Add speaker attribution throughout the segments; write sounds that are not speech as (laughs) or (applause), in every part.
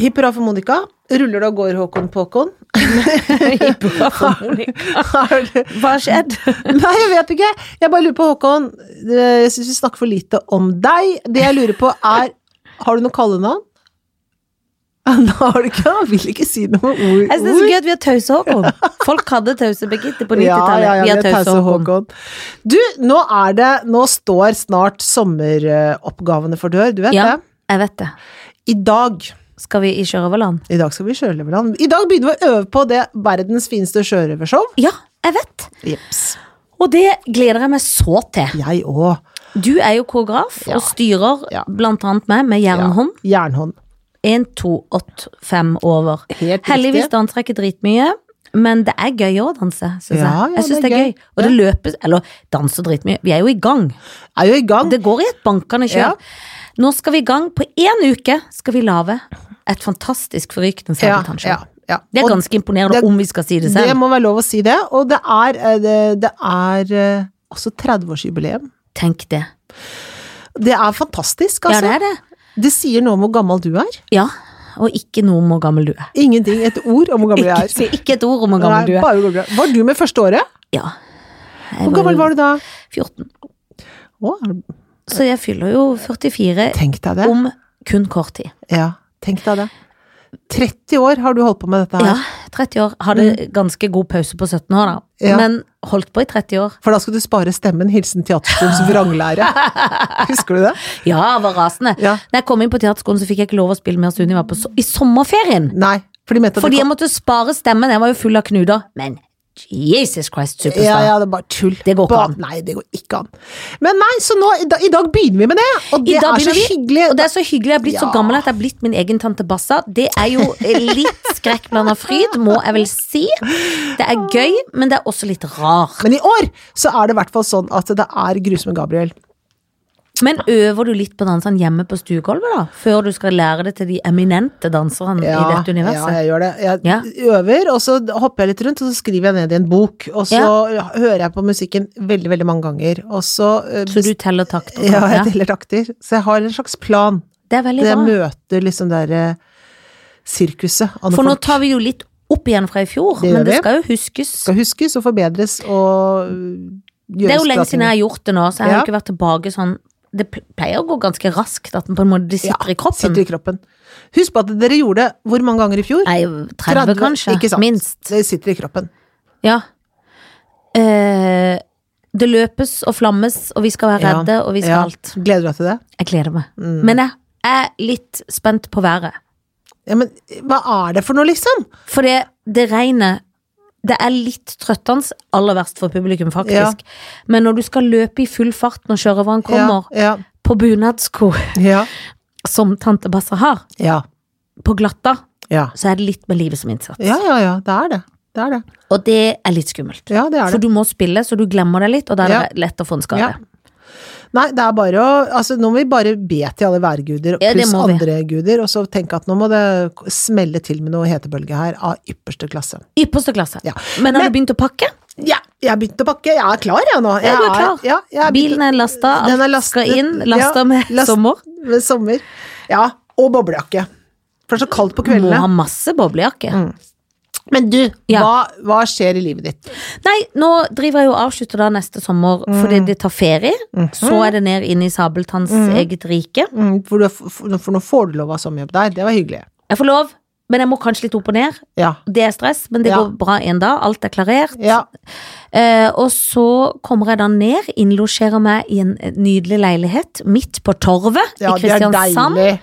Speaker 1: Hipp hurra for Monica. Ruller det og går, Håkon
Speaker 2: (laughs)
Speaker 1: Påkon? Hipp hurra
Speaker 2: for Monica. Hva har skjedd?
Speaker 1: Nei, jeg vet ikke. Jeg bare lurer på, Håkon eh, Jeg syns vi snakker for lite om deg. Det jeg lurer på, er Har du noe kallenavn? (laughs) Nå har du ikke Han vil ikke si noe om ord.
Speaker 2: Jeg synes det er så gøy at vi har tause Håkon. Folk hadde tause Birgitte på
Speaker 1: Ja,
Speaker 2: 90-tallet.
Speaker 1: ja, ja,
Speaker 2: vi har
Speaker 1: med
Speaker 2: tause
Speaker 1: pause,
Speaker 2: Håkon.
Speaker 1: Håkon. Du, nå er det Nå står snart sommeroppgavene for dør, du vet
Speaker 2: Ja,
Speaker 1: det?
Speaker 2: jeg vet det.
Speaker 1: I dag
Speaker 2: Skal vi i Sjørøverland?
Speaker 1: I dag skal vi sjørøverland. I dag begynner vi å øve på det verdens fineste sjørøvershow.
Speaker 2: Ja, jeg vet.
Speaker 1: Jeps.
Speaker 2: Og det gleder jeg meg så til.
Speaker 1: Jeg òg.
Speaker 2: Du er jo koreograf og styrer
Speaker 1: Ja.
Speaker 2: blant annet meg med jernhånd.
Speaker 1: Jernhånd.
Speaker 2: 1, 2, 8, 5 over.
Speaker 1: Helt
Speaker 2: Heldigvis danser jeg ikke dritmye, men det er gøy å danse, syns
Speaker 1: Ja, ja,
Speaker 2: jeg. Jeg synes
Speaker 1: det
Speaker 2: det
Speaker 1: er
Speaker 2: er gøy. Og det løpes Eller danser dritmye. Vi er jo i gang.
Speaker 1: Er jo i gang.
Speaker 2: Det går i et bankende
Speaker 1: Ja.
Speaker 2: kjør. Nå skal vi i gang. På én uke skal vi lage et fantastisk forrykende
Speaker 1: ja,
Speaker 2: sabeltannshow.
Speaker 1: ja, ja.
Speaker 2: Det er
Speaker 1: Og
Speaker 2: ganske imponerende,
Speaker 1: det-
Speaker 2: om vi skal si det
Speaker 1: det
Speaker 2: selv.
Speaker 1: må være lov å si det. Og det er, eh, det, det er eh, også 30-årsjubileum.
Speaker 2: Tenk det.
Speaker 1: Det er fantastisk,
Speaker 2: Ja, det
Speaker 1: altså.
Speaker 2: er det.
Speaker 1: det. sier noe om hvor gammel du er.
Speaker 2: Ja. Og ikke noe om hvor gammel du er.
Speaker 1: Ingenting. Et ord om hvor gammel
Speaker 2: (laughs) Ikke,
Speaker 1: jeg er.
Speaker 2: si ikke et ord om hvor gammel
Speaker 1: Nei,
Speaker 2: du er.
Speaker 1: bare hvor gammel jeg er. Var du med første året?
Speaker 2: Ja. Jeg
Speaker 1: Hvor gammel var du da?
Speaker 2: 14.
Speaker 1: Å, er du-
Speaker 2: Så jeg fyller jo 44
Speaker 1: tenk deg det.
Speaker 2: om kun kort tid.
Speaker 1: Ja, tenk deg det. 30 år har du holdt på med dette her.
Speaker 2: Ja, 30 år. Hadde ganske god pause på 17 år, da.
Speaker 1: Mm. Ja.
Speaker 2: Men holdt på i 30 år.
Speaker 1: For da skal du spare stemmen. Hilsen teaterskolens
Speaker 2: (laughs)
Speaker 1: vranglære. Husker du det?
Speaker 2: Ja, var rasende.
Speaker 1: Ja.
Speaker 2: Da jeg kom inn på teaterskolen, så fikk jeg ikke lov å spille mer Sunniva på so i sommerferien.
Speaker 1: Nei. For de mente at
Speaker 2: Fordi
Speaker 1: det
Speaker 2: jeg måtte spare stemmen. Jeg var jo full av knuter. Men Jesus Christ,
Speaker 1: kom... Ja,
Speaker 2: superstar.
Speaker 1: ja, det er bare tull.
Speaker 2: Det går ikke
Speaker 1: Ba-
Speaker 2: an.
Speaker 1: Nei, det går ikke an. Men nei, så nå, i, da, i dag begynner vi med det! Og
Speaker 2: I
Speaker 1: det
Speaker 2: dag
Speaker 1: er så
Speaker 2: begynner vi,
Speaker 1: hyggelig.
Speaker 2: Og det er så hyggelig. Jeg er blitt så
Speaker 1: Ja.
Speaker 2: gammel at jeg er blitt min egen tante Bassa. Det er jo litt skrekkblanda fryd, må jeg vel si. Det er gøy, men det er også litt rart.
Speaker 1: Men i år så er det i hvert fall sånn at det er grusomme Gabriel.
Speaker 2: Men øver du litt på dansene hjemme på stuegulvet, da? Før du skal lære det til de eminente danserne i dette
Speaker 1: Ja,
Speaker 2: universet?
Speaker 1: jeg gjør det. Jeg
Speaker 2: Ja.
Speaker 1: øver, og så hopper jeg litt rundt, og så skriver jeg ned i en bok. Og så hører jeg på musikken veldig, veldig mange ganger. Og så eh,
Speaker 2: Så du teller takt? og
Speaker 1: Ja,
Speaker 2: sånt,
Speaker 1: jeg teller takter. Så jeg har en slags plan.
Speaker 2: Det er veldig
Speaker 1: Det
Speaker 2: bra.
Speaker 1: møter liksom det derre sirkuset. av
Speaker 2: For nå
Speaker 1: folk
Speaker 2: tar vi jo litt opp igjen fra i fjor,
Speaker 1: Det gjør
Speaker 2: men det
Speaker 1: vi.
Speaker 2: skal jo huskes.
Speaker 1: skal huskes og forbedres og øh, gjøres
Speaker 2: Det er jo
Speaker 1: bra
Speaker 2: lenge
Speaker 1: ting.
Speaker 2: siden jeg har gjort det nå, så jeg har
Speaker 1: Ja.
Speaker 2: jo ikke vært tilbake sånn Det pl- pleier å gå ganske raskt, at den på en måte det
Speaker 1: Ja,
Speaker 2: sitter i kroppen.
Speaker 1: Sitter i kroppen. Husk på at dere gjorde det hvor mange ganger i fjor?
Speaker 2: Nei, 30 kanskje.
Speaker 1: ikke sant?
Speaker 2: Minst.
Speaker 1: Det sitter i kroppen.
Speaker 2: Ja. Eh, det løpes og flammes, og vi skal være
Speaker 1: Ja.
Speaker 2: redde, og vi skal
Speaker 1: Ja.
Speaker 2: alt.
Speaker 1: Gleder du deg til det?
Speaker 2: Jeg gleder meg.
Speaker 1: Mm.
Speaker 2: Men jeg er litt spent på været.
Speaker 1: Ja, men hva er det for noe, liksom?
Speaker 2: For det, det regnet det er litt trøttende, aller verst for publikum, faktisk. Men når du skal løpe i full fart når sjørøveren kommer,
Speaker 1: Ja,
Speaker 2: på bunadsko,
Speaker 1: ja,
Speaker 2: som tante Bassa har,
Speaker 1: ja.
Speaker 2: på glatta,
Speaker 1: Ja,
Speaker 2: så er det litt med livet som innsats.
Speaker 1: ja, ja, ja. det er det. Det er det.
Speaker 2: Og det er litt skummelt.
Speaker 1: Ja, det er
Speaker 2: For
Speaker 1: det.
Speaker 2: du må spille, så du glemmer det litt, og da er det
Speaker 1: Ja.
Speaker 2: lett å få en skade.
Speaker 1: Ja. Nei, det er bare å Altså, nå må vi bare be til alle værguder
Speaker 2: Ja, det
Speaker 1: pluss
Speaker 2: må vi.
Speaker 1: andre guder, og så tenke at nå må det smelle til med noe hetebølge her av ypperste klasse.
Speaker 2: Ypperste klasse.
Speaker 1: Ja.
Speaker 2: Men har
Speaker 1: Men-
Speaker 2: du begynt å pakke?
Speaker 1: Ja, jeg begynte å pakke. Jeg er klar, jeg nå. Jeg
Speaker 2: Ja, du er klar.
Speaker 1: ja, jeg er
Speaker 2: Bilen er lasta,
Speaker 1: Den er
Speaker 2: alt
Speaker 1: lastet.
Speaker 2: skal inn.
Speaker 1: Ja,
Speaker 2: Lasta med
Speaker 1: last-
Speaker 2: sommer.
Speaker 1: begynt med sommer. Ja, og boblejakke. For det er så kaldt på
Speaker 2: Må ha
Speaker 1: kveldene.
Speaker 2: masse boblejakke.
Speaker 1: Mm. Men du,
Speaker 2: Ja.
Speaker 1: hva, hva skjer i livet ditt?
Speaker 2: Nei, nå driver jeg jo og avslutter da neste sommer
Speaker 1: Mm.
Speaker 2: fordi det tar ferie.
Speaker 1: Mhm.
Speaker 2: Så er det ned inn i Sabeltanns eget rike.
Speaker 1: Mm, For, du, er f- for, for nå får du lov av sommerjobb der. Det var hyggelig.
Speaker 2: Jeg får lov, men jeg må kanskje litt opp og ned.
Speaker 1: Ja.
Speaker 2: Det er stress, men det
Speaker 1: Ja.
Speaker 2: går bra en dag. Alt er klarert.
Speaker 1: ja.
Speaker 2: Eh, og så kommer jeg da ned, innlosjerer meg i en eh, nydelig leilighet midt på Torvet
Speaker 1: ja
Speaker 2: i
Speaker 1: det er
Speaker 2: Kristiansand.
Speaker 1: deilig.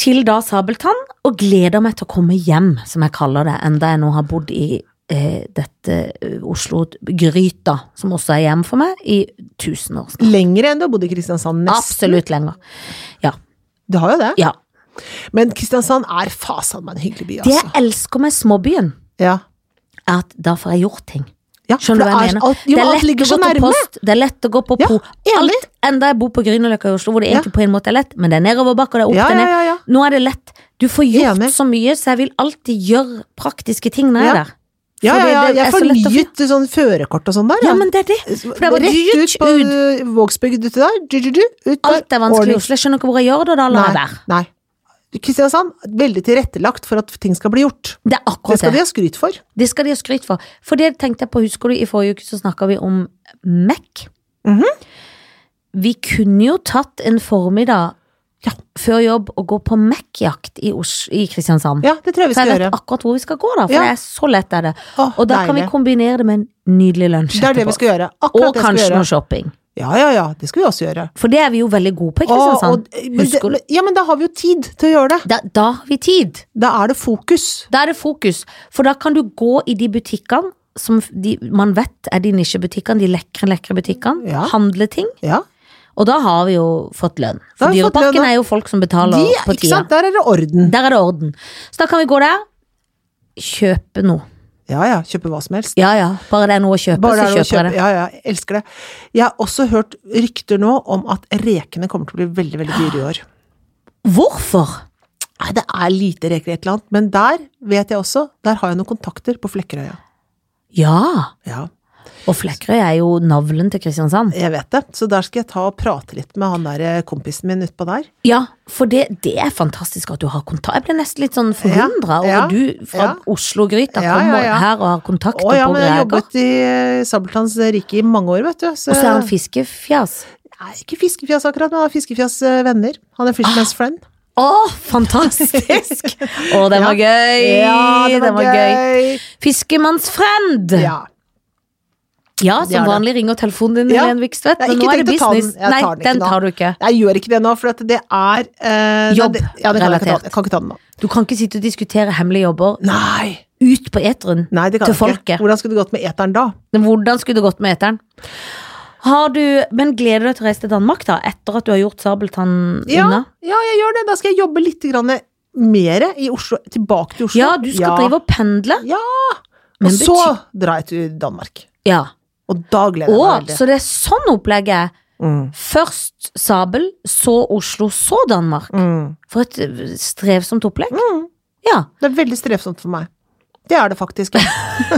Speaker 2: til da Sabeltann, og gleder meg til å komme hjem, som jeg kaller det, enda jeg nå har bodd i eh, dette eh, Oslo-gryta, som også er hjem for meg, i tusen år snart.
Speaker 1: Lenger enn du har bodd i Kristiansand. Nesten.
Speaker 2: Absolutt lenger. Ja.
Speaker 1: Du har jo det.
Speaker 2: ja.
Speaker 1: Men Kristiansand er fasan meg en hyggelig by,
Speaker 2: Det
Speaker 1: altså.
Speaker 2: jeg elsker med småbyen,
Speaker 1: Ja.
Speaker 2: er at da får jeg gjort ting.
Speaker 1: Ja, for
Speaker 2: Skjønner du
Speaker 1: det
Speaker 2: hva
Speaker 1: er så-
Speaker 2: jeg mener?
Speaker 1: Alt, jo,
Speaker 2: det er
Speaker 1: alt
Speaker 2: lett
Speaker 1: ligger
Speaker 2: å
Speaker 1: så
Speaker 2: gå på
Speaker 1: nærme.
Speaker 2: post, det er lett å gå på
Speaker 1: Ja,
Speaker 2: po.
Speaker 1: enig.
Speaker 2: Alt, enda jeg bor på Grünerløkka i Oslo, hvor det egentlig på en måte er lett, men det er nedoverbakker, det er opp
Speaker 1: Ja,
Speaker 2: og
Speaker 1: ja,
Speaker 2: ned.
Speaker 1: ja, ja.
Speaker 2: Nå er det lett. Du får gjort
Speaker 1: Enig.
Speaker 2: så mye, så jeg vil alltid gjøre praktiske ting når jeg er
Speaker 1: Ja.
Speaker 2: der.
Speaker 1: Ja,
Speaker 2: Fordi
Speaker 1: ja, ja.
Speaker 2: det
Speaker 1: Jeg
Speaker 2: er så lett å
Speaker 1: fornyet sånn førerkort og sånn der.
Speaker 2: Ja, men det er det. For det var
Speaker 1: Rett
Speaker 2: dyrt
Speaker 1: ut på
Speaker 2: ut.
Speaker 1: uh, Vågsbygd uti der. Du, du, du, ut der.
Speaker 2: Alt er vanskelig i
Speaker 1: Ordning.
Speaker 2: Oslo. Jeg skjønner ikke hvor jeg gjør det, da lar jeg
Speaker 1: Nei,
Speaker 2: være.
Speaker 1: nei. Kristiansand, veldig tilrettelagt for at ting skal bli gjort.
Speaker 2: Det er
Speaker 1: Det
Speaker 2: akkurat
Speaker 1: skal
Speaker 2: det.
Speaker 1: de ha skryt for.
Speaker 2: Det skal de ha skryt for. For det tenkte jeg på, husker du, i forrige uke så snakka vi om Mac.
Speaker 1: Mhm.
Speaker 2: Vi kunne jo tatt en formiddag
Speaker 1: Ja.
Speaker 2: før jobb og gå på Mac-jakt i, Os- i Kristiansand.
Speaker 1: Ja, det tror jeg vi
Speaker 2: for jeg
Speaker 1: skal
Speaker 2: vet
Speaker 1: gjøre.
Speaker 2: akkurat hvor vi skal gå, da. For
Speaker 1: Ja.
Speaker 2: det er så lett er det.
Speaker 1: Åh,
Speaker 2: Og da kan vi
Speaker 1: deilig.
Speaker 2: kombinere det med en nydelig lunsj
Speaker 1: Det er det vi
Speaker 2: etterpå.
Speaker 1: skal gjøre. Akkurat
Speaker 2: Og
Speaker 1: det skal vi
Speaker 2: kanskje
Speaker 1: gjøre.
Speaker 2: noe shopping.
Speaker 1: Ja, ja, ja. Det skal vi også gjøre.
Speaker 2: For det er vi jo veldig gode på i
Speaker 1: Åh,
Speaker 2: Kristiansand.
Speaker 1: og- men
Speaker 2: Husker du?
Speaker 1: det, ja, men da har vi jo tid til å gjøre det.
Speaker 2: Da, da har vi tid.
Speaker 1: Da er det fokus.
Speaker 2: Da er det fokus. For da kan du gå i de butikkene som f- de, man vet er de nisjebutikkene, de lekre, lekre butikkene.
Speaker 1: Ja.
Speaker 2: Handle ting.
Speaker 1: Ja.
Speaker 2: Og da har vi jo fått lønn.
Speaker 1: Da har
Speaker 2: For
Speaker 1: vi fått lønn,
Speaker 2: Dyreparken
Speaker 1: da.
Speaker 2: er jo folk som betaler
Speaker 1: De,
Speaker 2: på
Speaker 1: ikke
Speaker 2: tida.
Speaker 1: sant? Der er det orden.
Speaker 2: Der er det orden. Så da kan vi gå der, kjøpe noe.
Speaker 1: Ja ja, kjøpe hva som helst.
Speaker 2: Ja ja, bare det er noe å kjøpe,
Speaker 1: Bare
Speaker 2: så
Speaker 1: det er å
Speaker 2: kjøper jeg
Speaker 1: kjøpe.
Speaker 2: det.
Speaker 1: Ja ja, jeg elsker det. Jeg har også hørt rykter nå om at rekene kommer til å bli veldig, veldig dyre i år.
Speaker 2: Hvorfor?
Speaker 1: Nei, det er lite reker i et eller annet, men der vet jeg også, der har jeg noen kontakter på Flekkerøya.
Speaker 2: Ja,
Speaker 1: Ja,
Speaker 2: og Flekkerøy er jo navlen til Kristiansand.
Speaker 1: jeg vet det. Så der skal jeg ta og prate litt med han der eh, kompisen min utpå der.
Speaker 2: Ja, for det, det er fantastisk at du har kontakt. Jeg ble nesten litt sånn forundra
Speaker 1: ja,
Speaker 2: over du fra
Speaker 1: ja.
Speaker 2: Oslo-gryta
Speaker 1: Ja, ja,
Speaker 2: kommer
Speaker 1: ja.
Speaker 2: her og har kontakter
Speaker 1: Å ja,
Speaker 2: på
Speaker 1: men jeg har
Speaker 2: reker.
Speaker 1: jobbet i eh, Sabeltanns rike i mange år, vet du. Så,
Speaker 2: Og så er han fiskefjas.
Speaker 1: Nei, ikke Fiskefjas akkurat, men han er Fiskefjas eh, venner. Han er
Speaker 2: Ah,
Speaker 1: Fishman's friend.
Speaker 2: Å, fantastisk! Å, den var gøy!
Speaker 1: Ja, det var,
Speaker 2: Den
Speaker 1: gøy!
Speaker 2: Fiskemannsfriend! Ja,
Speaker 1: Ja. det er
Speaker 2: som
Speaker 1: det.
Speaker 2: vanlig ringer telefonen din,
Speaker 1: Ja.
Speaker 2: Helene Vikstvedt,
Speaker 1: Jeg har
Speaker 2: men
Speaker 1: ikke
Speaker 2: nå er det
Speaker 1: tenkt å ta den.
Speaker 2: business.
Speaker 1: Jeg
Speaker 2: Nei,
Speaker 1: tar den ikke
Speaker 2: den
Speaker 1: nå.
Speaker 2: tar du ikke.
Speaker 1: Jeg gjør ikke det nå, for at det er eh,
Speaker 2: Jobb-
Speaker 1: nei, det- Ja, det kan jeg, ikke ta,
Speaker 2: relatert.
Speaker 1: jeg kan ikke ta den nå.
Speaker 2: Du kan ikke sitte og diskutere hemmelige jobber
Speaker 1: Nei!
Speaker 2: ut på eteren.
Speaker 1: Nei, det kan jeg ikke.
Speaker 2: Til folket.
Speaker 1: Hvordan skulle det gått med eteren da?
Speaker 2: Men Hvordan skulle det gått med eteren? Har du, men gleder du deg til å reise til Danmark, da? Etter at du har gjort Sabeltann
Speaker 1: Ja,
Speaker 2: unna?
Speaker 1: ja, jeg gjør det. Da skal jeg jobbe litt grann mer i Oslo. Tilbake til Oslo.
Speaker 2: Ja, du skal drive og pendle.
Speaker 1: Ja.
Speaker 2: Men
Speaker 1: Og så
Speaker 2: betyr-
Speaker 1: drar jeg til Danmark.
Speaker 2: Ja.
Speaker 1: Og da gleder jeg
Speaker 2: Å,
Speaker 1: meg veldig.
Speaker 2: så det er sånn opplegget er.
Speaker 1: Mm.
Speaker 2: Først Sabel, så Oslo, så Danmark.
Speaker 1: Mm.
Speaker 2: For et øh, strevsomt opplegg.
Speaker 1: Mm.
Speaker 2: Ja.
Speaker 1: Det er veldig strevsomt for meg. Det er det faktisk. (laughs)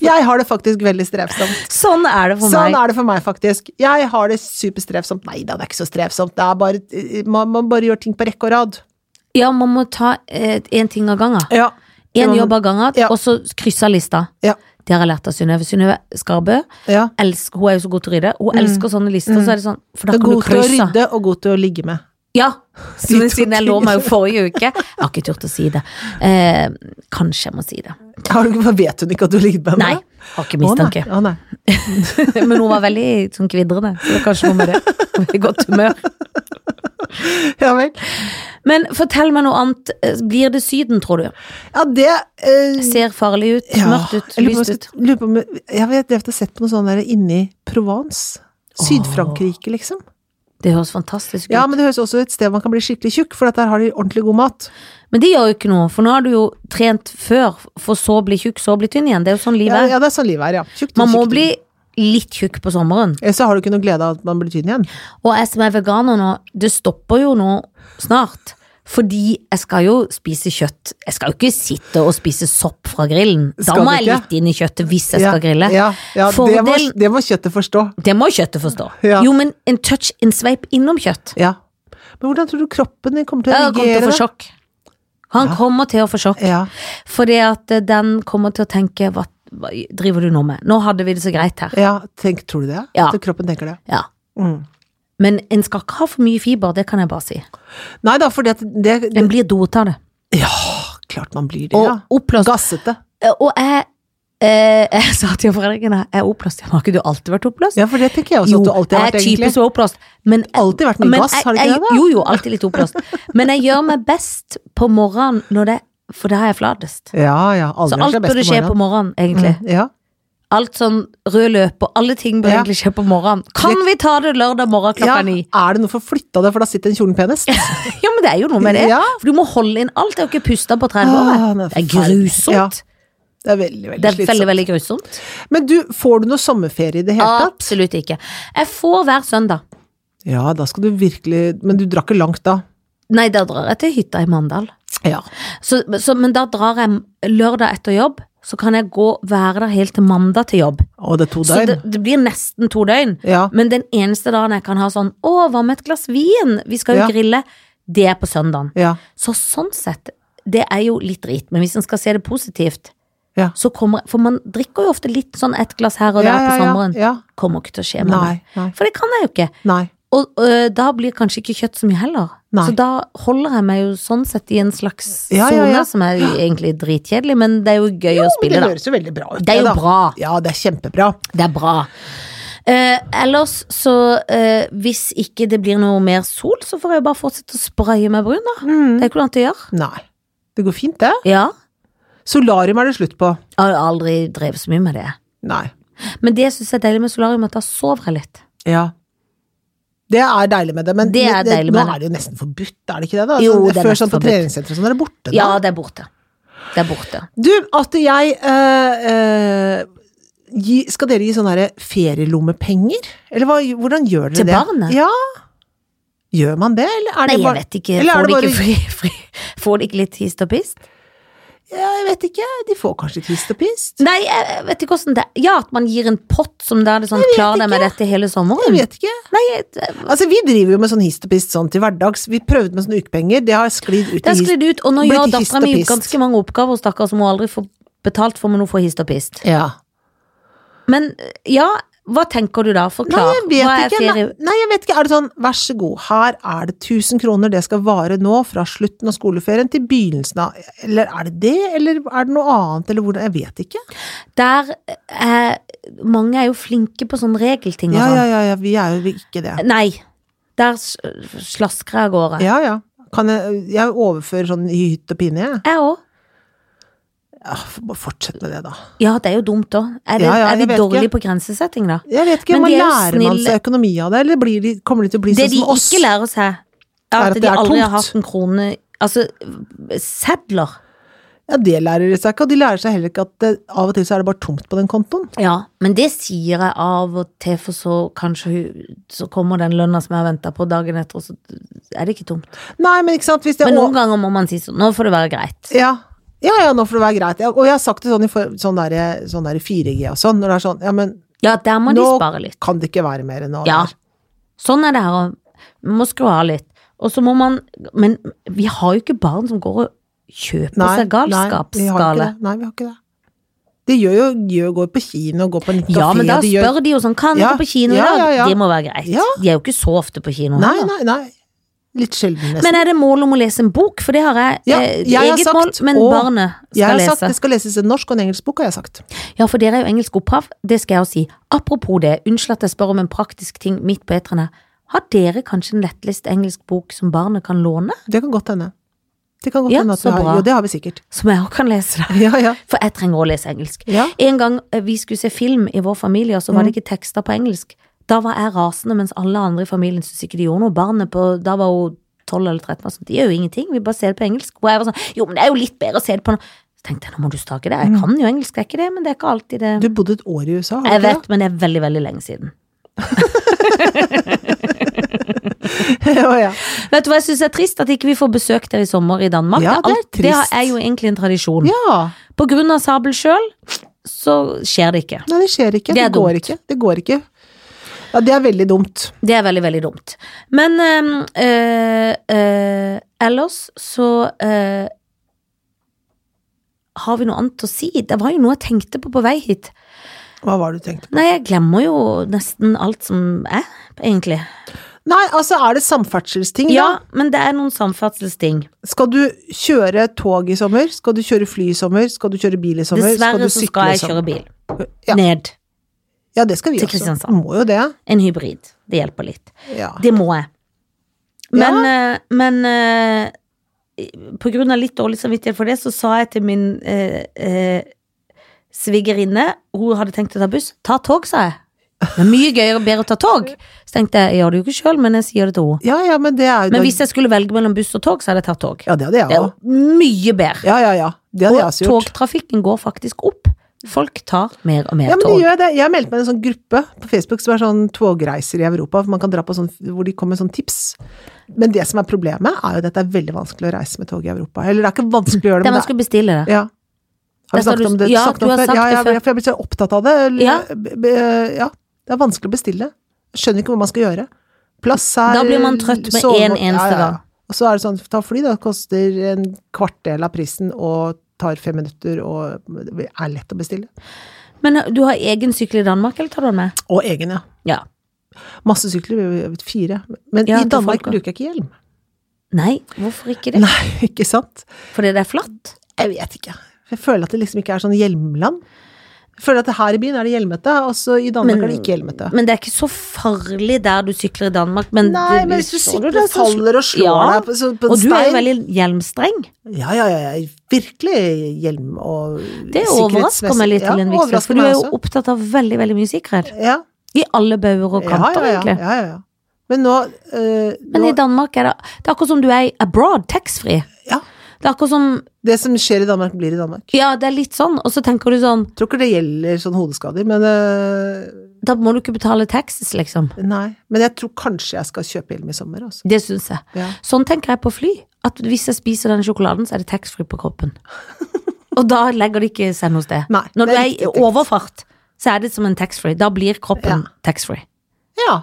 Speaker 1: jeg har det faktisk veldig strevsomt.
Speaker 2: Sånn er det for
Speaker 1: Sånn
Speaker 2: meg.
Speaker 1: er det for meg, faktisk. Jeg har det superstrevsomt. Nei da, det er ikke så strevsomt. Det er bare, eh, man, man bare gjør ting på rekke og rad.
Speaker 2: Ja, man må ta én ting av gangen.
Speaker 1: Ja. Det
Speaker 2: Én
Speaker 1: må man-
Speaker 2: jobb av gangen,
Speaker 1: Ja.
Speaker 2: og så krysse av lista.
Speaker 1: Ja.
Speaker 2: Det har jeg lært av Synnøve. Synnøve Skarbø
Speaker 1: ja.
Speaker 2: elsker, hun er jo så god til å rydde. Hun elsker sånne lister, så er det sånn, for
Speaker 1: Du
Speaker 2: da
Speaker 1: er
Speaker 2: kan du
Speaker 1: Mm. god til å
Speaker 2: krysse.
Speaker 1: rydde og god til å ligge med. (laughs)
Speaker 2: Ja,
Speaker 1: De
Speaker 2: men
Speaker 1: to
Speaker 2: siden jeg lå meg
Speaker 1: (laughs)
Speaker 2: jo forrige uke. Jeg har ikke turt å si det. Eh, kanskje jeg må si det.
Speaker 1: Har du, ikke- vet hun ikke at du har ligget med
Speaker 2: Nei,
Speaker 1: henne?
Speaker 2: har ikke mistanke.
Speaker 1: Å, nei. Å, nei.
Speaker 2: (laughs) Men hun var veldig sånn kvidrende, så det er kanskje noe med det. Hun er I godt humør.
Speaker 1: Ja vel.
Speaker 2: Men fortell meg noe annet. Eh, Blir det Syden, tror du?
Speaker 1: Ja, det eh,
Speaker 2: Ser farlig ut,
Speaker 1: ja.
Speaker 2: mørkt ut,
Speaker 1: Jeg lurer på om
Speaker 2: lyst
Speaker 1: jeg
Speaker 2: ut.
Speaker 1: skal- lurer på om jeg- Jeg vet, jeg har sett på noe sånt der inne i Provence. Syd-Frankrike, liksom.
Speaker 2: Det høres fantastisk ut.
Speaker 1: Ja, men det høres også et sted man kan bli skikkelig tjukk, for at der har de ordentlig god mat.
Speaker 2: Men det gjør jo ikke noe, for nå har du jo trent før, for så å bli tjukk, så å bli tynn igjen. Det er jo sånn
Speaker 1: Ja,
Speaker 2: livet er.
Speaker 1: ja, det er sånn livet er, ja. Tjukt,
Speaker 2: Man må
Speaker 1: tjukt.
Speaker 2: bli litt tjukk på sommeren.
Speaker 1: Ellers Eh, så har du ikke noe glede av at man blir tynn igjen.
Speaker 2: Og jeg som er veganer nå, det stopper jo nå snart. Fordi jeg skal jo spise kjøtt. Jeg skal jo ikke sitte og spise sopp fra grillen. Da
Speaker 1: Skal
Speaker 2: må
Speaker 1: du
Speaker 2: jeg
Speaker 1: ikke?
Speaker 2: litt inn i kjøttet hvis jeg skal grille.
Speaker 1: Ja, ja det, må,
Speaker 2: Fordelen-
Speaker 1: det må kjøttet forstå.
Speaker 2: Det må kjøttet forstå.
Speaker 1: Ja.
Speaker 2: Jo, men en touch, en sveip innom kjøtt.
Speaker 1: Ja. Men hvordan tror du kroppen din kommer til
Speaker 2: Jeg
Speaker 1: å
Speaker 2: kommer til å
Speaker 1: reagere?
Speaker 2: få
Speaker 1: da?
Speaker 2: sjokk. Han
Speaker 1: Ja.
Speaker 2: kommer til å få sjokk.
Speaker 1: Ja.
Speaker 2: Fordi at eh, den kommer til å tenke hva, hva driver du nå med? Nå hadde vi det så greit her.
Speaker 1: ja, tenk, tror du det?
Speaker 2: Ja.
Speaker 1: At kroppen tenker det?
Speaker 2: Ja.
Speaker 1: Mm.
Speaker 2: Men en skal ikke ha for mye fiber, det kan jeg bare si.
Speaker 1: Nei da, fordi at det,
Speaker 2: En blir doet av det.
Speaker 1: Ja, klart man blir det,
Speaker 2: Og
Speaker 1: ja.
Speaker 2: oppblåst.
Speaker 1: Gassete.
Speaker 2: Og jeg, eh, (laughs) jeg sa til foreldrene jeg er oppblåst. Har ikke du alltid vært oppblåst?
Speaker 1: Ja, for det tenker jeg også at du alltid har vært,
Speaker 2: jeg er typen
Speaker 1: egentlig.
Speaker 2: som er oppblåst. Men
Speaker 1: Alltid vært mye
Speaker 2: men
Speaker 1: gass, har du
Speaker 2: jeg-
Speaker 1: ikke det? da?
Speaker 2: Jo, jo, alltid litt oppblåst. Men jeg gjør meg best på morgenen, når det, for da er jeg flatest.
Speaker 1: Ja, ja.
Speaker 2: Så
Speaker 1: Aldri
Speaker 2: alt burde skje på morgenen, egentlig.
Speaker 1: Mm, ja.
Speaker 2: Alt sånn rød løp og alle ting bør
Speaker 1: Ja.
Speaker 2: egentlig skje på morgenen. Kan vi ta det lørdag morgen klokka ni? (laughs)
Speaker 1: Ja, er det noe for å flytte av det, for da sitter en kjolen penest?
Speaker 2: Ja. men det er jo noe med det.
Speaker 1: Ja.
Speaker 2: For du må holde inn alt. Jeg har ikke pusta på 30
Speaker 1: Ah,
Speaker 2: år.
Speaker 1: det
Speaker 2: jeg.
Speaker 1: er
Speaker 2: Det er
Speaker 1: forferdelig.
Speaker 2: grusomt.
Speaker 1: Ja, Det er veldig, veldig
Speaker 2: Det er veldig,
Speaker 1: slitsomt.
Speaker 2: veldig grusomt.
Speaker 1: Men du, får du noe sommerferie i det hele tatt?
Speaker 2: Absolutt ikke. Jeg får hver søndag.
Speaker 1: Ja, da skal du virkelig Men du drar ikke langt da?
Speaker 2: Nei, da drar jeg til hytta i Mandal.
Speaker 1: Ja.
Speaker 2: Så, så, men da drar jeg lørdag etter jobb. Så kan jeg gå være der helt til mandag til jobb.
Speaker 1: Å, det er to
Speaker 2: Så
Speaker 1: døgn?
Speaker 2: det, det blir nesten to døgn.
Speaker 1: Ja.
Speaker 2: Men den eneste dagen jeg kan ha sånn Å, hva med et glass vin? Vi skal jo
Speaker 1: Ja.
Speaker 2: grille. Det er på søndagen.
Speaker 1: Ja.
Speaker 2: Så sånn sett, det er jo litt drit, men hvis en skal se det positivt,
Speaker 1: Ja.
Speaker 2: så kommer For man drikker jo ofte litt sånn ett glass her og der
Speaker 1: ja, ja,
Speaker 2: på sommeren.
Speaker 1: Ja.
Speaker 2: Kommer ikke til å skje med
Speaker 1: Nei,
Speaker 2: meg.
Speaker 1: nei,
Speaker 2: For det kan jeg jo ikke.
Speaker 1: nei.
Speaker 2: Og øh, da blir kanskje ikke kjøtt så mye heller.
Speaker 1: Nei.
Speaker 2: Så da holder jeg meg jo sånn sett i en slags sone
Speaker 1: Ja, ja, ja.
Speaker 2: som er jo egentlig dritkjedelig, men det er jo gøy å
Speaker 1: Men
Speaker 2: spille,
Speaker 1: det
Speaker 2: da.
Speaker 1: høres jo veldig bra ut.
Speaker 2: Det er jo
Speaker 1: da.
Speaker 2: bra.
Speaker 1: Ja, det er kjempebra.
Speaker 2: Det er bra. Eh, ellers så eh, Hvis ikke det blir noe mer sol, så får jeg jo bare fortsette å spraye meg brun, da.
Speaker 1: Mm.
Speaker 2: Det er ikke noe annet å gjøre.
Speaker 1: Nei. Det går fint, det.
Speaker 2: Ja.
Speaker 1: Solarium er det slutt på.
Speaker 2: Jeg har aldri drevet så mye med det.
Speaker 1: Nei.
Speaker 2: Men det jeg syns er deilig med solarium, er at da sover jeg litt.
Speaker 1: Ja. Det er deilig med det, men
Speaker 2: Det er deilig med
Speaker 1: nå
Speaker 2: det.
Speaker 1: er det jo nesten forbudt, er det ikke det? da?
Speaker 2: Jo,
Speaker 1: Sånn,
Speaker 2: det er
Speaker 1: Før
Speaker 2: nesten
Speaker 1: sånn på
Speaker 2: forbudt.
Speaker 1: treningssenteret og sånn er det borte nå.
Speaker 2: Ja, det er borte. Det er borte.
Speaker 1: Du, at jeg eh, eh, gi, Skal dere gi sånne her ferielommepenger? Eller hva, hvordan gjør dere
Speaker 2: Til
Speaker 1: det?
Speaker 2: barnet?
Speaker 1: Ja. Gjør man det, eller er
Speaker 2: Nei,
Speaker 1: det
Speaker 2: jeg
Speaker 1: bare
Speaker 2: vet ikke.
Speaker 1: eller er
Speaker 2: Får
Speaker 1: det
Speaker 2: de
Speaker 1: bare-
Speaker 2: ikke, fri, fri, får de ikke litt hist og pist?
Speaker 1: ja, Jeg vet ikke. De får kanskje kvist og pist?
Speaker 2: Nei, jeg jeg vet ikke hvordan det Ja, at man gir en pott som da er det sånn Klar deg med dette hele
Speaker 1: Jeg
Speaker 2: sommeren?
Speaker 1: vet ikke.
Speaker 2: Nei, jeg-
Speaker 1: Altså, vi driver jo med sånn hist og pist sånn til hverdags. Vi prøvde med sånne ukepenger, det har sklidd ut
Speaker 2: det
Speaker 1: i
Speaker 2: har
Speaker 1: hist.
Speaker 2: sklidd ut. Og nå
Speaker 1: Blir
Speaker 2: gjør
Speaker 1: til hist og
Speaker 2: dattera mi
Speaker 1: pist.
Speaker 2: ganske mange oppgaver, stakkar, som hun aldri får betalt for, men hun får hist og pist.
Speaker 1: Ja.
Speaker 2: Men eh, ja, hva tenker du da?
Speaker 1: Nei,
Speaker 2: Forklar.
Speaker 1: jeg vet
Speaker 2: hva er
Speaker 1: ikke. Nei,
Speaker 2: ferie...
Speaker 1: nei, jeg vet ikke. Er det sånn, vær så god, her er det 1000 kroner, det skal vare nå fra slutten av skoleferien til begynnelsen av Eller er det det, eller er det noe annet, eller hvordan Jeg vet ikke.
Speaker 2: Der eh, Mange er jo flinke på sånne regelting og
Speaker 1: Ja,
Speaker 2: sånn.
Speaker 1: ja, ja, ja vi er jo ikke det.
Speaker 2: Nei. Der s- slasker jeg av gårde.
Speaker 1: Ja, ja. Kan jeg, jeg overfører sånn i hytt og pine, jeg.
Speaker 2: Jeg òg.
Speaker 1: Ja, f- bare Fortsett med det, da.
Speaker 2: Ja, det er jo dumt òg. Er, det-
Speaker 1: Ja, ja,
Speaker 2: er
Speaker 1: jeg
Speaker 2: vi
Speaker 1: vet
Speaker 2: dårlige
Speaker 1: ikke.
Speaker 2: på grensesetting, da?
Speaker 1: Jeg vet ikke,
Speaker 2: Men
Speaker 1: man
Speaker 2: de er jo
Speaker 1: lærer man seg økonomi av det, eller blir de, kommer de til å bli
Speaker 2: Det
Speaker 1: sånn
Speaker 2: de
Speaker 1: som oss?
Speaker 2: ikke lærer seg,
Speaker 1: Er
Speaker 2: er
Speaker 1: at
Speaker 2: at
Speaker 1: det
Speaker 2: de
Speaker 1: er
Speaker 2: aldri har
Speaker 1: tomt.
Speaker 2: hatt en krone Altså, sedler.
Speaker 1: Ja, det lærer de seg ikke, og de lærer seg heller ikke at det, av og til så er det bare tomt på den kontoen.
Speaker 2: Ja, men det sier jeg av og til, for så kanskje hun- så kommer den lønna som jeg har venta på dagen etter, og så er det ikke tomt.
Speaker 1: Nei, men ikke sant, hvis det
Speaker 2: Men
Speaker 1: å-
Speaker 2: noen ganger må man si sånn, nå får det være greit.
Speaker 1: Ja. ja, ja, nå får det være greit. Ja, Og jeg har sagt det sånn i for, sånn der, sånn der 4G og sånn, når det er sånn Ja, men
Speaker 2: Ja, der må de
Speaker 1: nå
Speaker 2: spare litt.
Speaker 1: kan det ikke være mer enn nå.
Speaker 2: Ja. Sånn er det her, og vi må skru av litt. Og så må man Men vi har jo ikke barn som går og kjøper seg
Speaker 1: Nei, vi har ikke
Speaker 2: galskapsgale.
Speaker 1: det. Nei, vi har ikke det. De gjør jo gjør, går på kino, går på en liten
Speaker 2: Ja,
Speaker 1: kafé
Speaker 2: men da
Speaker 1: de gjør-
Speaker 2: spør de jo sånn, kan
Speaker 1: Ja,
Speaker 2: dere på kino i
Speaker 1: ja,
Speaker 2: dag?
Speaker 1: ja, ja.
Speaker 2: Det må være greit.
Speaker 1: Ja.
Speaker 2: De er jo ikke så ofte på kino.
Speaker 1: Nei, nei,
Speaker 2: heller.
Speaker 1: nei. Litt sjelden, nesten.
Speaker 2: Men er det mål om å lese en bok? For det har jeg.
Speaker 1: Ja,
Speaker 2: eh,
Speaker 1: jeg har
Speaker 2: eget
Speaker 1: sagt,
Speaker 2: mål, men
Speaker 1: og
Speaker 2: barnet
Speaker 1: jeg
Speaker 2: skal
Speaker 1: har
Speaker 2: lese.
Speaker 1: sagt det skal leses en norsk og en engelsk bok, har jeg sagt.
Speaker 2: Ja, for dere er jo engelsk opphav, det skal jeg jo si. Apropos det, unnskyld at jeg spør om en praktisk ting midt på eterne. Har dere kanskje en lettlest engelsk bok som barnet kan låne?
Speaker 1: Det kan godt hende. Det kan godt
Speaker 2: Ja,
Speaker 1: hende at vi
Speaker 2: så
Speaker 1: har,
Speaker 2: bra.
Speaker 1: jo, det har vi sikkert. (laughs)
Speaker 2: Som jeg òg kan lese, da.
Speaker 1: Ja, ja.
Speaker 2: For jeg trenger å lese engelsk.
Speaker 1: Ja. Mm.
Speaker 2: En gang eh, vi skulle se film i vår familie, og så var det ikke tekster på engelsk. Da var jeg rasende, mens alle andre i familien syntes ikke de gjorde noe. Barnet på, da var hun 12 eller 13 og sånn, de gjør jo ingenting, vi bare ser det på engelsk. Og jeg var sånn, jo, men det er jo litt bedre å se det på noe. Så tenkte jeg, nå må du stake det. Jeg kan jo engelsk, det er ikke det, men det er ikke alltid det.
Speaker 1: Mm. Du bodde et år i USA, har du
Speaker 2: Jeg
Speaker 1: ikke
Speaker 2: vet, men det er veldig, veldig lenge siden.
Speaker 1: det? (laughs) ja, ja.
Speaker 2: Vet du hva jeg syns er trist? At ikke vi får besøk der i sommer i Danmark.
Speaker 1: Ja, det er
Speaker 2: Alt- det
Speaker 1: trist.
Speaker 2: er jo egentlig en tradisjon.
Speaker 1: ja.
Speaker 2: På grunn av Sabel sjøl, så skjer det ikke.
Speaker 1: Nei, det skjer ikke.
Speaker 2: Det
Speaker 1: Det,
Speaker 2: er
Speaker 1: går
Speaker 2: dumt.
Speaker 1: ikke. Det går ikke. Ja, det er veldig dumt.
Speaker 2: Det er veldig, veldig dumt. Men øhm, øh, øh, ellers så øh, har vi noe annet å si? Det var jo noe jeg tenkte på på vei hit.
Speaker 1: Hva var det du tenkte?
Speaker 2: Nei, jeg glemmer jo nesten alt som er, egentlig.
Speaker 1: Nei, altså er det samferdselsting,
Speaker 2: Ja,
Speaker 1: da?
Speaker 2: men det er noen samferdselsting.
Speaker 1: Skal du kjøre tog i sommer? Skal du kjøre fly i sommer? Skal du kjøre bil i sommer?
Speaker 2: Dessverre
Speaker 1: du
Speaker 2: så skal jeg kjøre bil.
Speaker 1: Ja.
Speaker 2: Ned.
Speaker 1: Ja, det skal vi
Speaker 2: til
Speaker 1: også.
Speaker 2: Kristiansand.
Speaker 1: Må jo det.
Speaker 2: En hybrid. Det hjelper litt.
Speaker 1: Ja.
Speaker 2: Det må jeg. Men, eh, men eh, på grunn av litt dårlig samvittighet for det, så sa jeg til min eh, eh, svigerinne Hun hadde tenkt å ta buss. Ta tog, sa jeg. Det er mye gøyere og bedre å ta tog. Så tenkte jeg, jeg gjør det jo ikke sjøl, men jeg sier det til henne.
Speaker 1: ja, ja, men det er jo
Speaker 2: Men hvis jeg skulle velge mellom buss og tog, så hadde jeg tatt tog.
Speaker 1: Ja, det hadde
Speaker 2: Det
Speaker 1: jeg
Speaker 2: er
Speaker 1: òg.
Speaker 2: jo mye bedre.
Speaker 1: Ja, ja, ja. Det hadde
Speaker 2: Og
Speaker 1: jeg også gjort.
Speaker 2: togtrafikken går faktisk opp. Folk tar mer og mer
Speaker 1: Ja, men de
Speaker 2: tog.
Speaker 1: gjør det. Jeg har meldt meg i en sånn gruppe på Facebook som er sånn togreiser i Europa, hvor man kan dra på sånn, hvor de kommer med sånn tips. Men det som er problemet, er jo at det er veldig vanskelig å reise med tog i Europa. Eller det er ikke vanskelig å gjøre
Speaker 2: Der
Speaker 1: det,
Speaker 2: man
Speaker 1: men det
Speaker 2: skulle bestille det.
Speaker 1: er ja. Har
Speaker 2: Der
Speaker 1: vi
Speaker 2: sa
Speaker 1: snakket
Speaker 2: du-
Speaker 1: om det
Speaker 2: ja,
Speaker 1: snakket
Speaker 2: du
Speaker 1: om
Speaker 2: har
Speaker 1: før?
Speaker 2: sagt
Speaker 1: Ja,
Speaker 2: det
Speaker 1: jeg,
Speaker 2: før.
Speaker 1: jeg, for jeg blir så opptatt av det. Eller,
Speaker 2: Ja.
Speaker 1: b- b- ja. Det er vanskelig å bestille. Jeg Skjønner ikke hva man skal gjøre. Plass her
Speaker 2: Da blir man trøtt med
Speaker 1: sove-
Speaker 2: en eneste
Speaker 1: ja, ja, ja.
Speaker 2: gang.
Speaker 1: Og så er det sånn, ta fly, da. Det koster en kvartdel av prisen og tar fem minutter og det er lett å bestille.
Speaker 2: Men eh, du har egen sykkel i Danmark, eller tar du den med?
Speaker 1: Og egen, ja.
Speaker 2: Ja.
Speaker 1: Masse sykler, vi har fire. Men
Speaker 2: Ja,
Speaker 1: i
Speaker 2: til
Speaker 1: Danmark
Speaker 2: folk, da.
Speaker 1: bruker jeg ikke hjelm. (laughs)
Speaker 2: Nei, hvorfor ikke det?
Speaker 1: Nei, ikke sant?
Speaker 2: Fordi det er flatt?
Speaker 1: Jeg vet ikke. Jeg føler at det liksom ikke er sånn hjelmland. Jeg føler at her i byen er det hjelmete, og så i Danmark
Speaker 2: Men-
Speaker 1: er det ikke hjelmete.
Speaker 2: Men det er ikke så farlig der du sykler i Danmark. Men
Speaker 1: Nei,
Speaker 2: det-
Speaker 1: men hvis du
Speaker 2: så
Speaker 1: sykler
Speaker 2: det
Speaker 1: og
Speaker 2: som-
Speaker 1: faller og slår
Speaker 2: Ja.
Speaker 1: deg på, så, på
Speaker 2: Og
Speaker 1: en
Speaker 2: du er
Speaker 1: stein
Speaker 2: jo veldig hjelmstreng.
Speaker 1: Ja, ja, ja, ja. Virkelig hjelm og
Speaker 2: Det overrasker meg litt,
Speaker 1: sikkerhetsmessig-
Speaker 2: Linn
Speaker 1: ja,
Speaker 2: Viksnes,
Speaker 1: overrasker
Speaker 2: for du
Speaker 1: meg
Speaker 2: er jo
Speaker 1: også.
Speaker 2: opptatt av veldig, veldig mye sikkerhet.
Speaker 1: ja.
Speaker 2: I alle bauger og
Speaker 1: Ja,
Speaker 2: kanter,
Speaker 1: ja, ja,
Speaker 2: egentlig.
Speaker 1: ja, ja, ja. Men nå, eh,
Speaker 2: Men i
Speaker 1: nå
Speaker 2: Danmark er det Det er akkurat som du er i abroad, taxfree.
Speaker 1: Ja.
Speaker 2: Det er akkurat som
Speaker 1: Det som skjer i Danmark, blir i Danmark.
Speaker 2: Ja, det er litt sånn, og så tenker du sånn
Speaker 1: Jeg tror ikke det gjelder sånn hodeskader, men eh,
Speaker 2: Da må du ikke betale taxis, liksom.
Speaker 1: Nei. Men jeg tror kanskje jeg skal kjøpe hjelm i sommer, altså.
Speaker 2: Det syns jeg.
Speaker 1: Ja.
Speaker 2: Sånn tenker jeg på fly. At hvis jeg spiser den sjokoladen, så er det taxfree
Speaker 1: (laughs)
Speaker 2: på kroppen. Og da legger det ikke seg noe sted.
Speaker 1: Nei,
Speaker 2: Når
Speaker 1: det
Speaker 2: du
Speaker 1: er
Speaker 2: er
Speaker 1: riktig
Speaker 2: i
Speaker 1: tenkt.
Speaker 2: overfart, så er det som en taxfree. Da blir kroppen
Speaker 1: Ja.
Speaker 2: taxfree.
Speaker 1: Ja.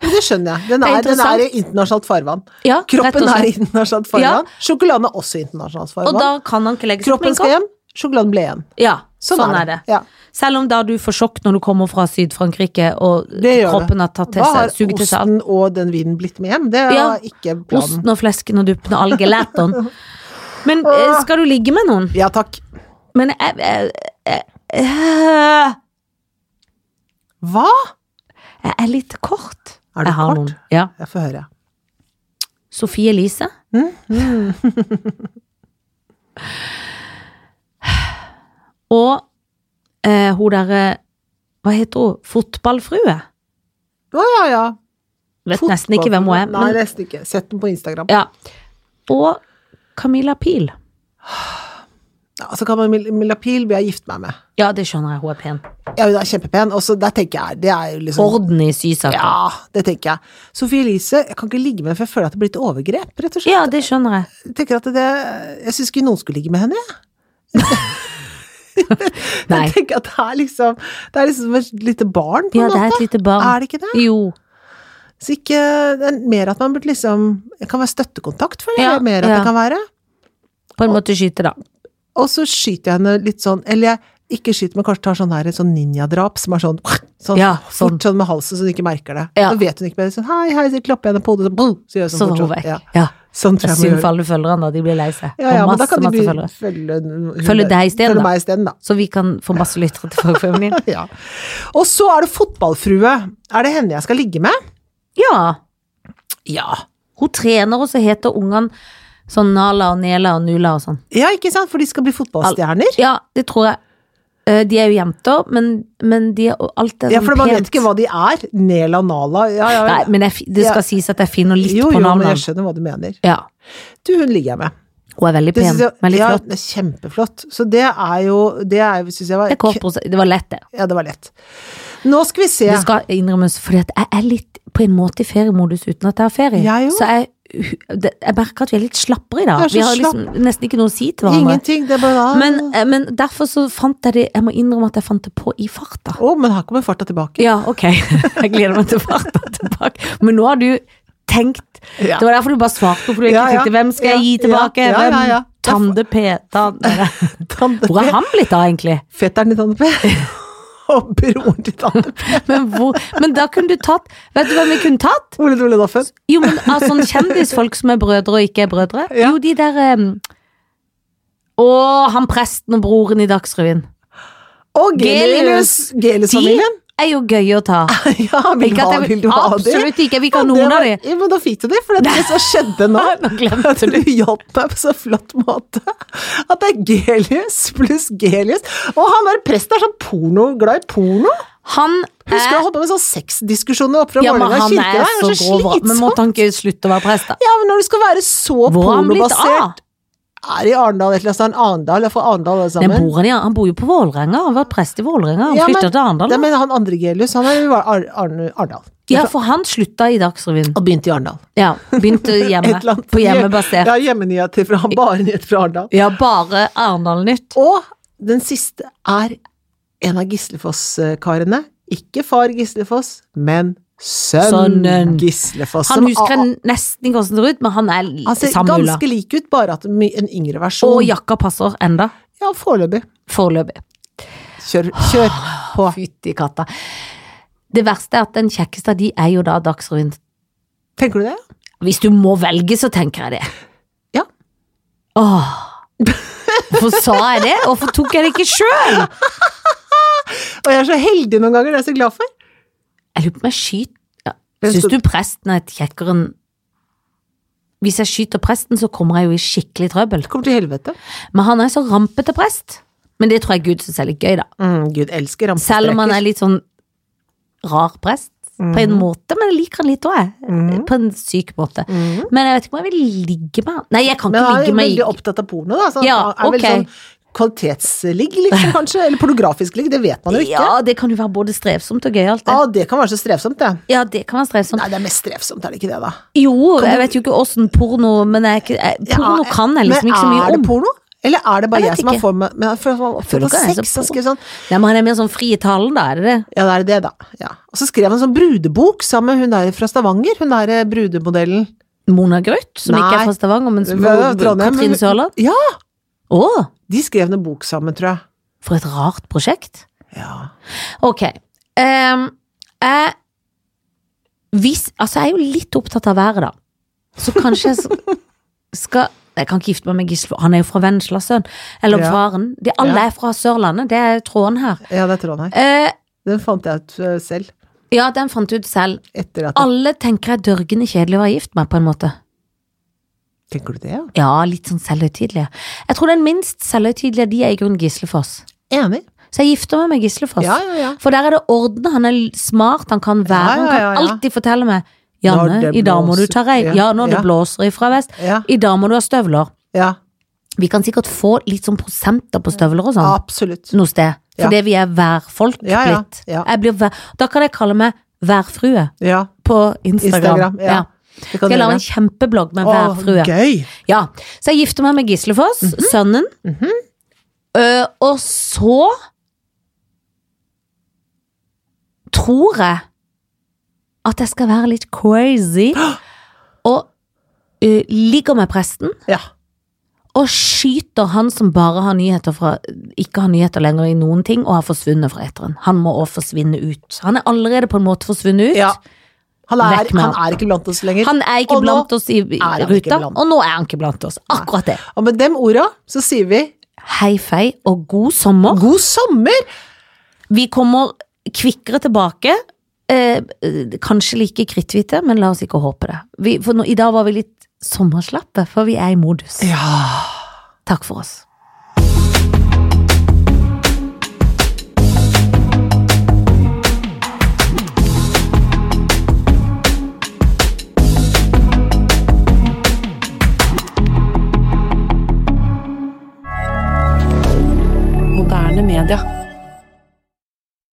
Speaker 1: Men det skjønner jeg. Den
Speaker 2: Det er
Speaker 1: er, den er i
Speaker 2: interessant.
Speaker 1: internasjonalt farvann.
Speaker 2: Ja, rett
Speaker 1: Kroppen
Speaker 2: og
Speaker 1: er i
Speaker 2: slett.
Speaker 1: internasjonalt farvann. Sjokoladen er også i internasjonalt
Speaker 2: Og
Speaker 1: farvann.
Speaker 2: da kan han ikke legge seg
Speaker 1: Kroppen
Speaker 2: opp
Speaker 1: skal
Speaker 2: lenger.
Speaker 1: hjem, sjokoladen ble igjen.
Speaker 2: Ja, sånn, er det.
Speaker 1: Ja.
Speaker 2: Selv om da du får sjokk når du kommer fra Syd-Frankrike og
Speaker 1: Det gjør
Speaker 2: kroppen har tatt til
Speaker 1: Hva har
Speaker 2: seg, suget til seg alt.
Speaker 1: osten og den vinen blitt med hjem? Det er
Speaker 2: Ja.
Speaker 1: ikke planen.
Speaker 2: Osten og flesken og duppen og algelæteren.
Speaker 1: (laughs)
Speaker 2: Men eh, skal du ligge med noen?
Speaker 1: Ja takk.
Speaker 2: Men eh, jeg, jeg, jeg, jeg,
Speaker 1: Hva?
Speaker 2: jeg er litt kort.
Speaker 1: Er du
Speaker 2: jeg har
Speaker 1: kort?
Speaker 2: noen. Ja.
Speaker 1: Jeg får høre.
Speaker 2: Sofie Elise.
Speaker 1: Mm.
Speaker 2: Mm. og eh, hun derre Hva heter hun? Fotballfrue?
Speaker 1: Å ja, ja.
Speaker 2: Vet nesten ikke hvem hun er.
Speaker 1: Nei,
Speaker 2: Men,
Speaker 1: nesten ikke. Sett den på Instagram.
Speaker 2: ja. Og Camilla Pil.
Speaker 1: Ja, så kan man Mil- Milla Pil vil jeg gifte meg med.
Speaker 2: Ja, det skjønner jeg. Hun er pen.
Speaker 1: Ja, hun er kjempepen, og så der tenker jeg Det er jo liksom
Speaker 2: Orden i sysaker. Ja.
Speaker 1: Ja, det tenker jeg. Sophie Elise, jeg kan ikke ligge med henne, for jeg føler at det blir et overgrep, rett og slett.
Speaker 2: det skjønner jeg.
Speaker 1: Jeg tenker at det Jeg syns ikke noen skulle ligge med henne, jeg.
Speaker 2: (laughs) Nei.
Speaker 1: Jeg tenker at det er liksom Det er liksom et lite barn, på
Speaker 2: Ja,
Speaker 1: en
Speaker 2: det er
Speaker 1: måte.
Speaker 2: et lite barn.
Speaker 1: Er det ikke det?
Speaker 2: Jo.
Speaker 1: Så ikke det er Mer at man burde liksom Det kan være støttekontakt, føler jeg.
Speaker 2: Ja,
Speaker 1: mer at
Speaker 2: ja.
Speaker 1: det kan være.
Speaker 2: På en måte skyte, da.
Speaker 1: Og så skyter jeg henne litt sånn, eller jeg ikke skyter, men kanskje tar sånn her, et sånn ninjadrap som er sånn, sånn,
Speaker 2: Ja,
Speaker 1: fort
Speaker 2: sånn.
Speaker 1: sånn med halsen så hun ikke merker det.
Speaker 2: Ja.
Speaker 1: Så vet hun ikke mer, sånn hei, hei, så klapper jeg henne på hodet, så, boom, så gjør jeg sånn
Speaker 2: Så
Speaker 1: fort
Speaker 2: var hun
Speaker 1: sånn.
Speaker 2: vekk.
Speaker 1: Ja.
Speaker 2: Ja.
Speaker 1: Sånn tror jeg må
Speaker 2: Synd for
Speaker 1: gjøre.
Speaker 2: alle følgerne, da. De blir lei seg.
Speaker 1: Ja, ja,
Speaker 2: og
Speaker 1: men da
Speaker 2: masse,
Speaker 1: kan de
Speaker 2: masse
Speaker 1: bli,
Speaker 2: følgere.
Speaker 1: følge, hun-
Speaker 2: Følge deg i stedet, da.
Speaker 1: Følge meg i stedet, da.
Speaker 2: Så vi kan få masse lyttere til
Speaker 1: (laughs)
Speaker 2: fagfruen din.
Speaker 1: Ja. Og så er det fotballfrue. Er det henne jeg skal ligge med?
Speaker 2: Ja.
Speaker 1: Ja.
Speaker 2: Hun trener, og så heter ungene sånn Nala og Nela og Nula og sånn.
Speaker 1: Ja, ikke sant? For de skal bli fotballstjerner.
Speaker 2: Ja, det tror jeg. Eh, De er jo jenter, men, men de er alt er
Speaker 1: Ja,
Speaker 2: sånn
Speaker 1: for man vet
Speaker 2: pent.
Speaker 1: ikke hva de er. Nela Nala, ja, ja.
Speaker 2: Nei, men jeg, fi- det skal
Speaker 1: Ja.
Speaker 2: sies at jeg finner litt
Speaker 1: jo,
Speaker 2: på
Speaker 1: jo, men jeg
Speaker 2: navnet.
Speaker 1: skjønner hva du mener.
Speaker 2: Ja.
Speaker 1: Du, hun ligger jeg med.
Speaker 2: Hun er veldig
Speaker 1: Det
Speaker 2: pen.
Speaker 1: synes jeg,
Speaker 2: veldig
Speaker 1: ja,
Speaker 2: flott.
Speaker 1: det er kjempeflott. Så det er jo Det er, jo- synes jeg var
Speaker 2: Det, er kort prosess- det var lett, det.
Speaker 1: Ja, det var lett. Nå skal vi se.
Speaker 2: Det skal innrømmes, fordi at jeg er litt på en måte i feriemodus uten at jeg har ferie.
Speaker 1: Jeg òg.
Speaker 2: så jeg, det- jeg merker at vi er litt slappere i dag.
Speaker 1: Jeg er så
Speaker 2: Vi har liksom nesten ikke noe å si til hverandre.
Speaker 1: Ingenting. Det er bare da
Speaker 2: Men, eh, men derfor så fant jeg det Jeg må innrømme at jeg fant det på i farta.
Speaker 1: Å, men her kommer farta
Speaker 2: (laughs)
Speaker 1: tilbake.
Speaker 2: Ja, ok. Jeg gleder meg til farta tilbake. Men nå har du tenkt.
Speaker 1: Ja.
Speaker 2: Det var derfor du bare svarte, for du egentlig
Speaker 1: Ja, ja.
Speaker 2: tenkte hvem skal jeg gi
Speaker 1: Ja,
Speaker 2: tilbake?
Speaker 1: ja, ja, ja.
Speaker 2: Hvem? Tande P. Tande.
Speaker 1: Tante
Speaker 2: Hvor er
Speaker 1: P.
Speaker 2: han blitt av,
Speaker 1: (laughs)
Speaker 2: egentlig?
Speaker 1: Fetteren til Tante P.
Speaker 2: (laughs)
Speaker 1: (laughs) Og broren til Tante P.
Speaker 2: Men, hvor, men da kunne du tatt Vet du hvem vi kunne tatt?
Speaker 1: Ole Dole Doffen.
Speaker 2: Jo, men av sånne kjendisfolk som er brødre og ikke er brødre.
Speaker 1: Ja.
Speaker 2: Jo, de der um, Å, han presten og broren i Dagsrevyen.
Speaker 1: Og Gelius.
Speaker 2: De
Speaker 1: Gelius-familien.
Speaker 2: er jo gøye å ta.
Speaker 1: (laughs)
Speaker 2: (laughs)
Speaker 1: Ja, vil du
Speaker 2: Ikke at
Speaker 1: ha,
Speaker 2: jeg
Speaker 1: vil du ha det?
Speaker 2: Absolutt ikke. Vi kan
Speaker 1: Ja, det
Speaker 2: noen
Speaker 1: var-
Speaker 2: av de.
Speaker 1: Ja, men da fikk du det, for det er det som
Speaker 2: (laughs)
Speaker 1: skjedde nå. At du hjalp meg på så flott måte. At det er Gelius pluss Gelius. Og han der presten er sånn porno, glad i porno.
Speaker 2: Han
Speaker 1: Husker
Speaker 2: er
Speaker 1: jeg holdt på med sånn sexdiskusjoner oppe fra
Speaker 2: Ja, men
Speaker 1: Vålerenga
Speaker 2: han
Speaker 1: kirke.
Speaker 2: er
Speaker 1: Det
Speaker 2: så
Speaker 1: er så
Speaker 2: grov. hva- Men
Speaker 1: slitsomt.
Speaker 2: måtte han ikke slutte å være prest, da?
Speaker 1: Ja, men når du skal være så
Speaker 2: Hvor har han blitt av?
Speaker 1: pornobasert Er i Arendal et eller annet sted? Arendal? Jeg er fra Arendal, alle
Speaker 2: Nei,
Speaker 1: sammen.
Speaker 2: bor han, i- han bor jo på Vålerenga. Han har vært prest i Vålerenga. Han
Speaker 1: Ja, men-
Speaker 2: flytta til Arendal.
Speaker 1: Nei,
Speaker 2: da.
Speaker 1: men han andre Gelius, han er jo i Ar- Ar- Arendal.
Speaker 2: Ja, for han slutta i Dagsrevyen.
Speaker 1: Og begynte i Arendal.
Speaker 2: Ja,
Speaker 1: (laughs)
Speaker 2: Begynte
Speaker 1: Et
Speaker 2: hjemme.
Speaker 1: eller annet-
Speaker 2: På hjemmebasert.
Speaker 1: Ja, hjemmenyheter fra han, bare nyheter fra Arendal.
Speaker 2: Ja, bare Arendal Nytt.
Speaker 1: Og den siste er en av Gislefoss-karene. Ikke far Gislefoss, men sønnen
Speaker 2: Sønnen.
Speaker 1: Gislefoss.
Speaker 2: Han
Speaker 1: som
Speaker 2: husker
Speaker 1: Altså, a-
Speaker 2: jeg nesten ikke hvordan det ser ut, men han er
Speaker 1: Han ser
Speaker 2: samme ula.
Speaker 1: ganske lik ut, bare at my- en yngre versjon.
Speaker 2: Og jakka passer enda,
Speaker 1: Ja, foreløpig.
Speaker 2: foreløpig.
Speaker 1: Kjør, kjør på.
Speaker 2: Fytti katta. Det verste er at den kjekkeste av de er jo da Dagsrevyen.
Speaker 1: Tenker du det?
Speaker 2: Hvis du må velge, så tenker jeg det.
Speaker 1: (laughs) Ja.
Speaker 2: Åh. Hvorfor sa jeg det? Hvorfor tok jeg det ikke sjøl?
Speaker 1: Og jeg er så heldig noen ganger, det er jeg så glad for.
Speaker 2: Jeg lurer på om jeg skyter ja.
Speaker 1: Det
Speaker 2: Syns
Speaker 1: sto-
Speaker 2: du presten er et kjekkere enn Hvis jeg skyter presten, så kommer jeg jo i skikkelig trøbbel.
Speaker 1: Kommer til helvete.
Speaker 2: Men han er så rampete prest. Men det tror jeg Gud syns er litt gøy, da.
Speaker 1: Mm, Gud elsker rampestreker.
Speaker 2: Selv om han er litt sånn rar prest. På en måte, men jeg liker han litt òg, jeg.
Speaker 1: Mhm.
Speaker 2: På en syk måte.
Speaker 1: Mhm.
Speaker 2: Men jeg vet ikke om jeg vil ligge med han. Nei, jeg kan
Speaker 1: Men
Speaker 2: ikke
Speaker 1: han er
Speaker 2: ligge med
Speaker 1: veldig opptatt av porno, da. Så han
Speaker 2: Ja,
Speaker 1: er vel
Speaker 2: ok.
Speaker 1: sånn kvalitetsligg, liksom, kanskje. Eller pornografisk ligg, det vet man jo ikke. Ja,
Speaker 2: Ja, det kan jo være både strevsomt og gøyalt, det.
Speaker 1: det kan være så strevsomt, det.
Speaker 2: Ja, det kan være strevsomt.
Speaker 1: Nei, det er mest strevsomt, er det ikke det, da?
Speaker 2: Jo, jeg vet jo ikke åssen porno Men jeg, er ikke- jeg, porno
Speaker 1: Ja, eh,
Speaker 2: kan jeg liksom ikke så mye
Speaker 1: Ah, Men er
Speaker 2: om.
Speaker 1: det porno? Eller er det bare
Speaker 2: Jeg
Speaker 1: jeg,
Speaker 2: vet
Speaker 1: som har
Speaker 2: ikke.
Speaker 1: for meg Men jeg føler for, for,
Speaker 2: Føler
Speaker 1: for
Speaker 2: ikke jeg er så
Speaker 1: sex, han
Speaker 2: porno.
Speaker 1: skrev sånn
Speaker 2: Nei, men han er mer sånn fri i talen, da, er det det?
Speaker 1: Ja, det er det, da. Ja. Og så skrev han en sånn brudebok sammen med hun der fra Stavanger, hun der eh, brudemodellen.
Speaker 2: Mona Gruth, som
Speaker 1: Nei.
Speaker 2: ikke er fra Stavanger, men som
Speaker 1: Hva- Trondheim,
Speaker 2: Katrin
Speaker 1: men-
Speaker 2: Sørland?
Speaker 1: Ja!
Speaker 2: Å,
Speaker 1: De skrev en bok sammen, tror jeg.
Speaker 2: for et rart prosjekt.
Speaker 1: Ja.
Speaker 2: Ok. ehm, jeg hvis, Altså, jeg er jo litt opptatt av været, da. Så kanskje
Speaker 1: (laughs)
Speaker 2: jeg s- skal Jeg kan ikke gifte meg med Gisle, for han er jo fra Vennesla, sønn. Eller
Speaker 1: Ja.
Speaker 2: faren. De, alle
Speaker 1: Ja.
Speaker 2: er fra Sørlandet, det er tråden her.
Speaker 1: ja, det er Trondheim.
Speaker 2: Eh,
Speaker 1: Den fant jeg ut eh, selv.
Speaker 2: ja, den fant jeg ut selv.
Speaker 1: Etter at
Speaker 2: Alle tenker jeg er dørgende kjedelig å være gift med, på en måte.
Speaker 1: Tenker du det, ja?
Speaker 2: Ja, litt sånn selvhøytidelige. Jeg tror den minst selvhøytidelige, de er i grunnen Gislefoss.
Speaker 1: Enig.
Speaker 2: Så jeg gifter meg med Gislefoss.
Speaker 1: Ja, ja, ja.
Speaker 2: For der er det ordna, han er l- smart, han kan
Speaker 1: Ja, ja,
Speaker 2: være, han
Speaker 1: ja,
Speaker 2: kan
Speaker 1: ja.
Speaker 2: alltid fortelle meg
Speaker 1: Når
Speaker 2: Janne,
Speaker 1: det
Speaker 2: i dag må du
Speaker 1: blåser.
Speaker 2: ta rei.
Speaker 1: Ja,
Speaker 2: Ja, når det
Speaker 1: ja.
Speaker 2: blåser ifra vest.
Speaker 1: Ja,
Speaker 2: I dag må du ha støvler.
Speaker 1: ja.
Speaker 2: Vi kan sikkert få litt sånn prosenter på støvler og sånn
Speaker 1: Absolutt.
Speaker 2: noe sted.
Speaker 1: Ja.
Speaker 2: Fordi vi er værfolk
Speaker 1: Ja, ja,
Speaker 2: litt.
Speaker 1: ja.
Speaker 2: Jeg blir vær, da kan jeg kalle meg værfrue
Speaker 1: Ja.
Speaker 2: på Instagram.
Speaker 1: Instagram. Ja.
Speaker 2: Ja.
Speaker 1: Det
Speaker 2: Skal jeg lage
Speaker 1: gjøre.
Speaker 2: en kjempeblogg med
Speaker 1: Å,
Speaker 2: værfrue.
Speaker 1: Gøy! Mhm.
Speaker 2: Ja, så jeg gifter meg med Gislefoss, sønnen. Ø, og så tror jeg at jeg skal være litt
Speaker 1: (gasps)
Speaker 2: crazy og ø, ligger med presten
Speaker 1: Ja.
Speaker 2: og skyter han som bare har nyheter fra ikke har nyheter lenger i noen ting, og har forsvunnet fra eteren. Han må òg forsvinne ut. Han er allerede på en måte forsvunnet ut.
Speaker 1: ja. Han, er,
Speaker 2: Vekk med
Speaker 1: han
Speaker 2: han.
Speaker 1: er ikke blant oss lenger.
Speaker 2: Han er ikke
Speaker 1: Og nå
Speaker 2: blant oss i, i
Speaker 1: han ikke
Speaker 2: ruta,
Speaker 1: blant-
Speaker 2: og nå er han ikke blant oss. Akkurat det.
Speaker 1: Og med dem orda så sier vi
Speaker 2: Hei fei og god sommer.
Speaker 1: god sommer!
Speaker 2: Vi kommer kvikkere tilbake. Eh, eh, kanskje like kritthvite, men la oss ikke håpe det. Vi, for nå, I dag var vi litt sommerslappe, for vi er i modus.
Speaker 1: Ja.
Speaker 2: Takk for oss.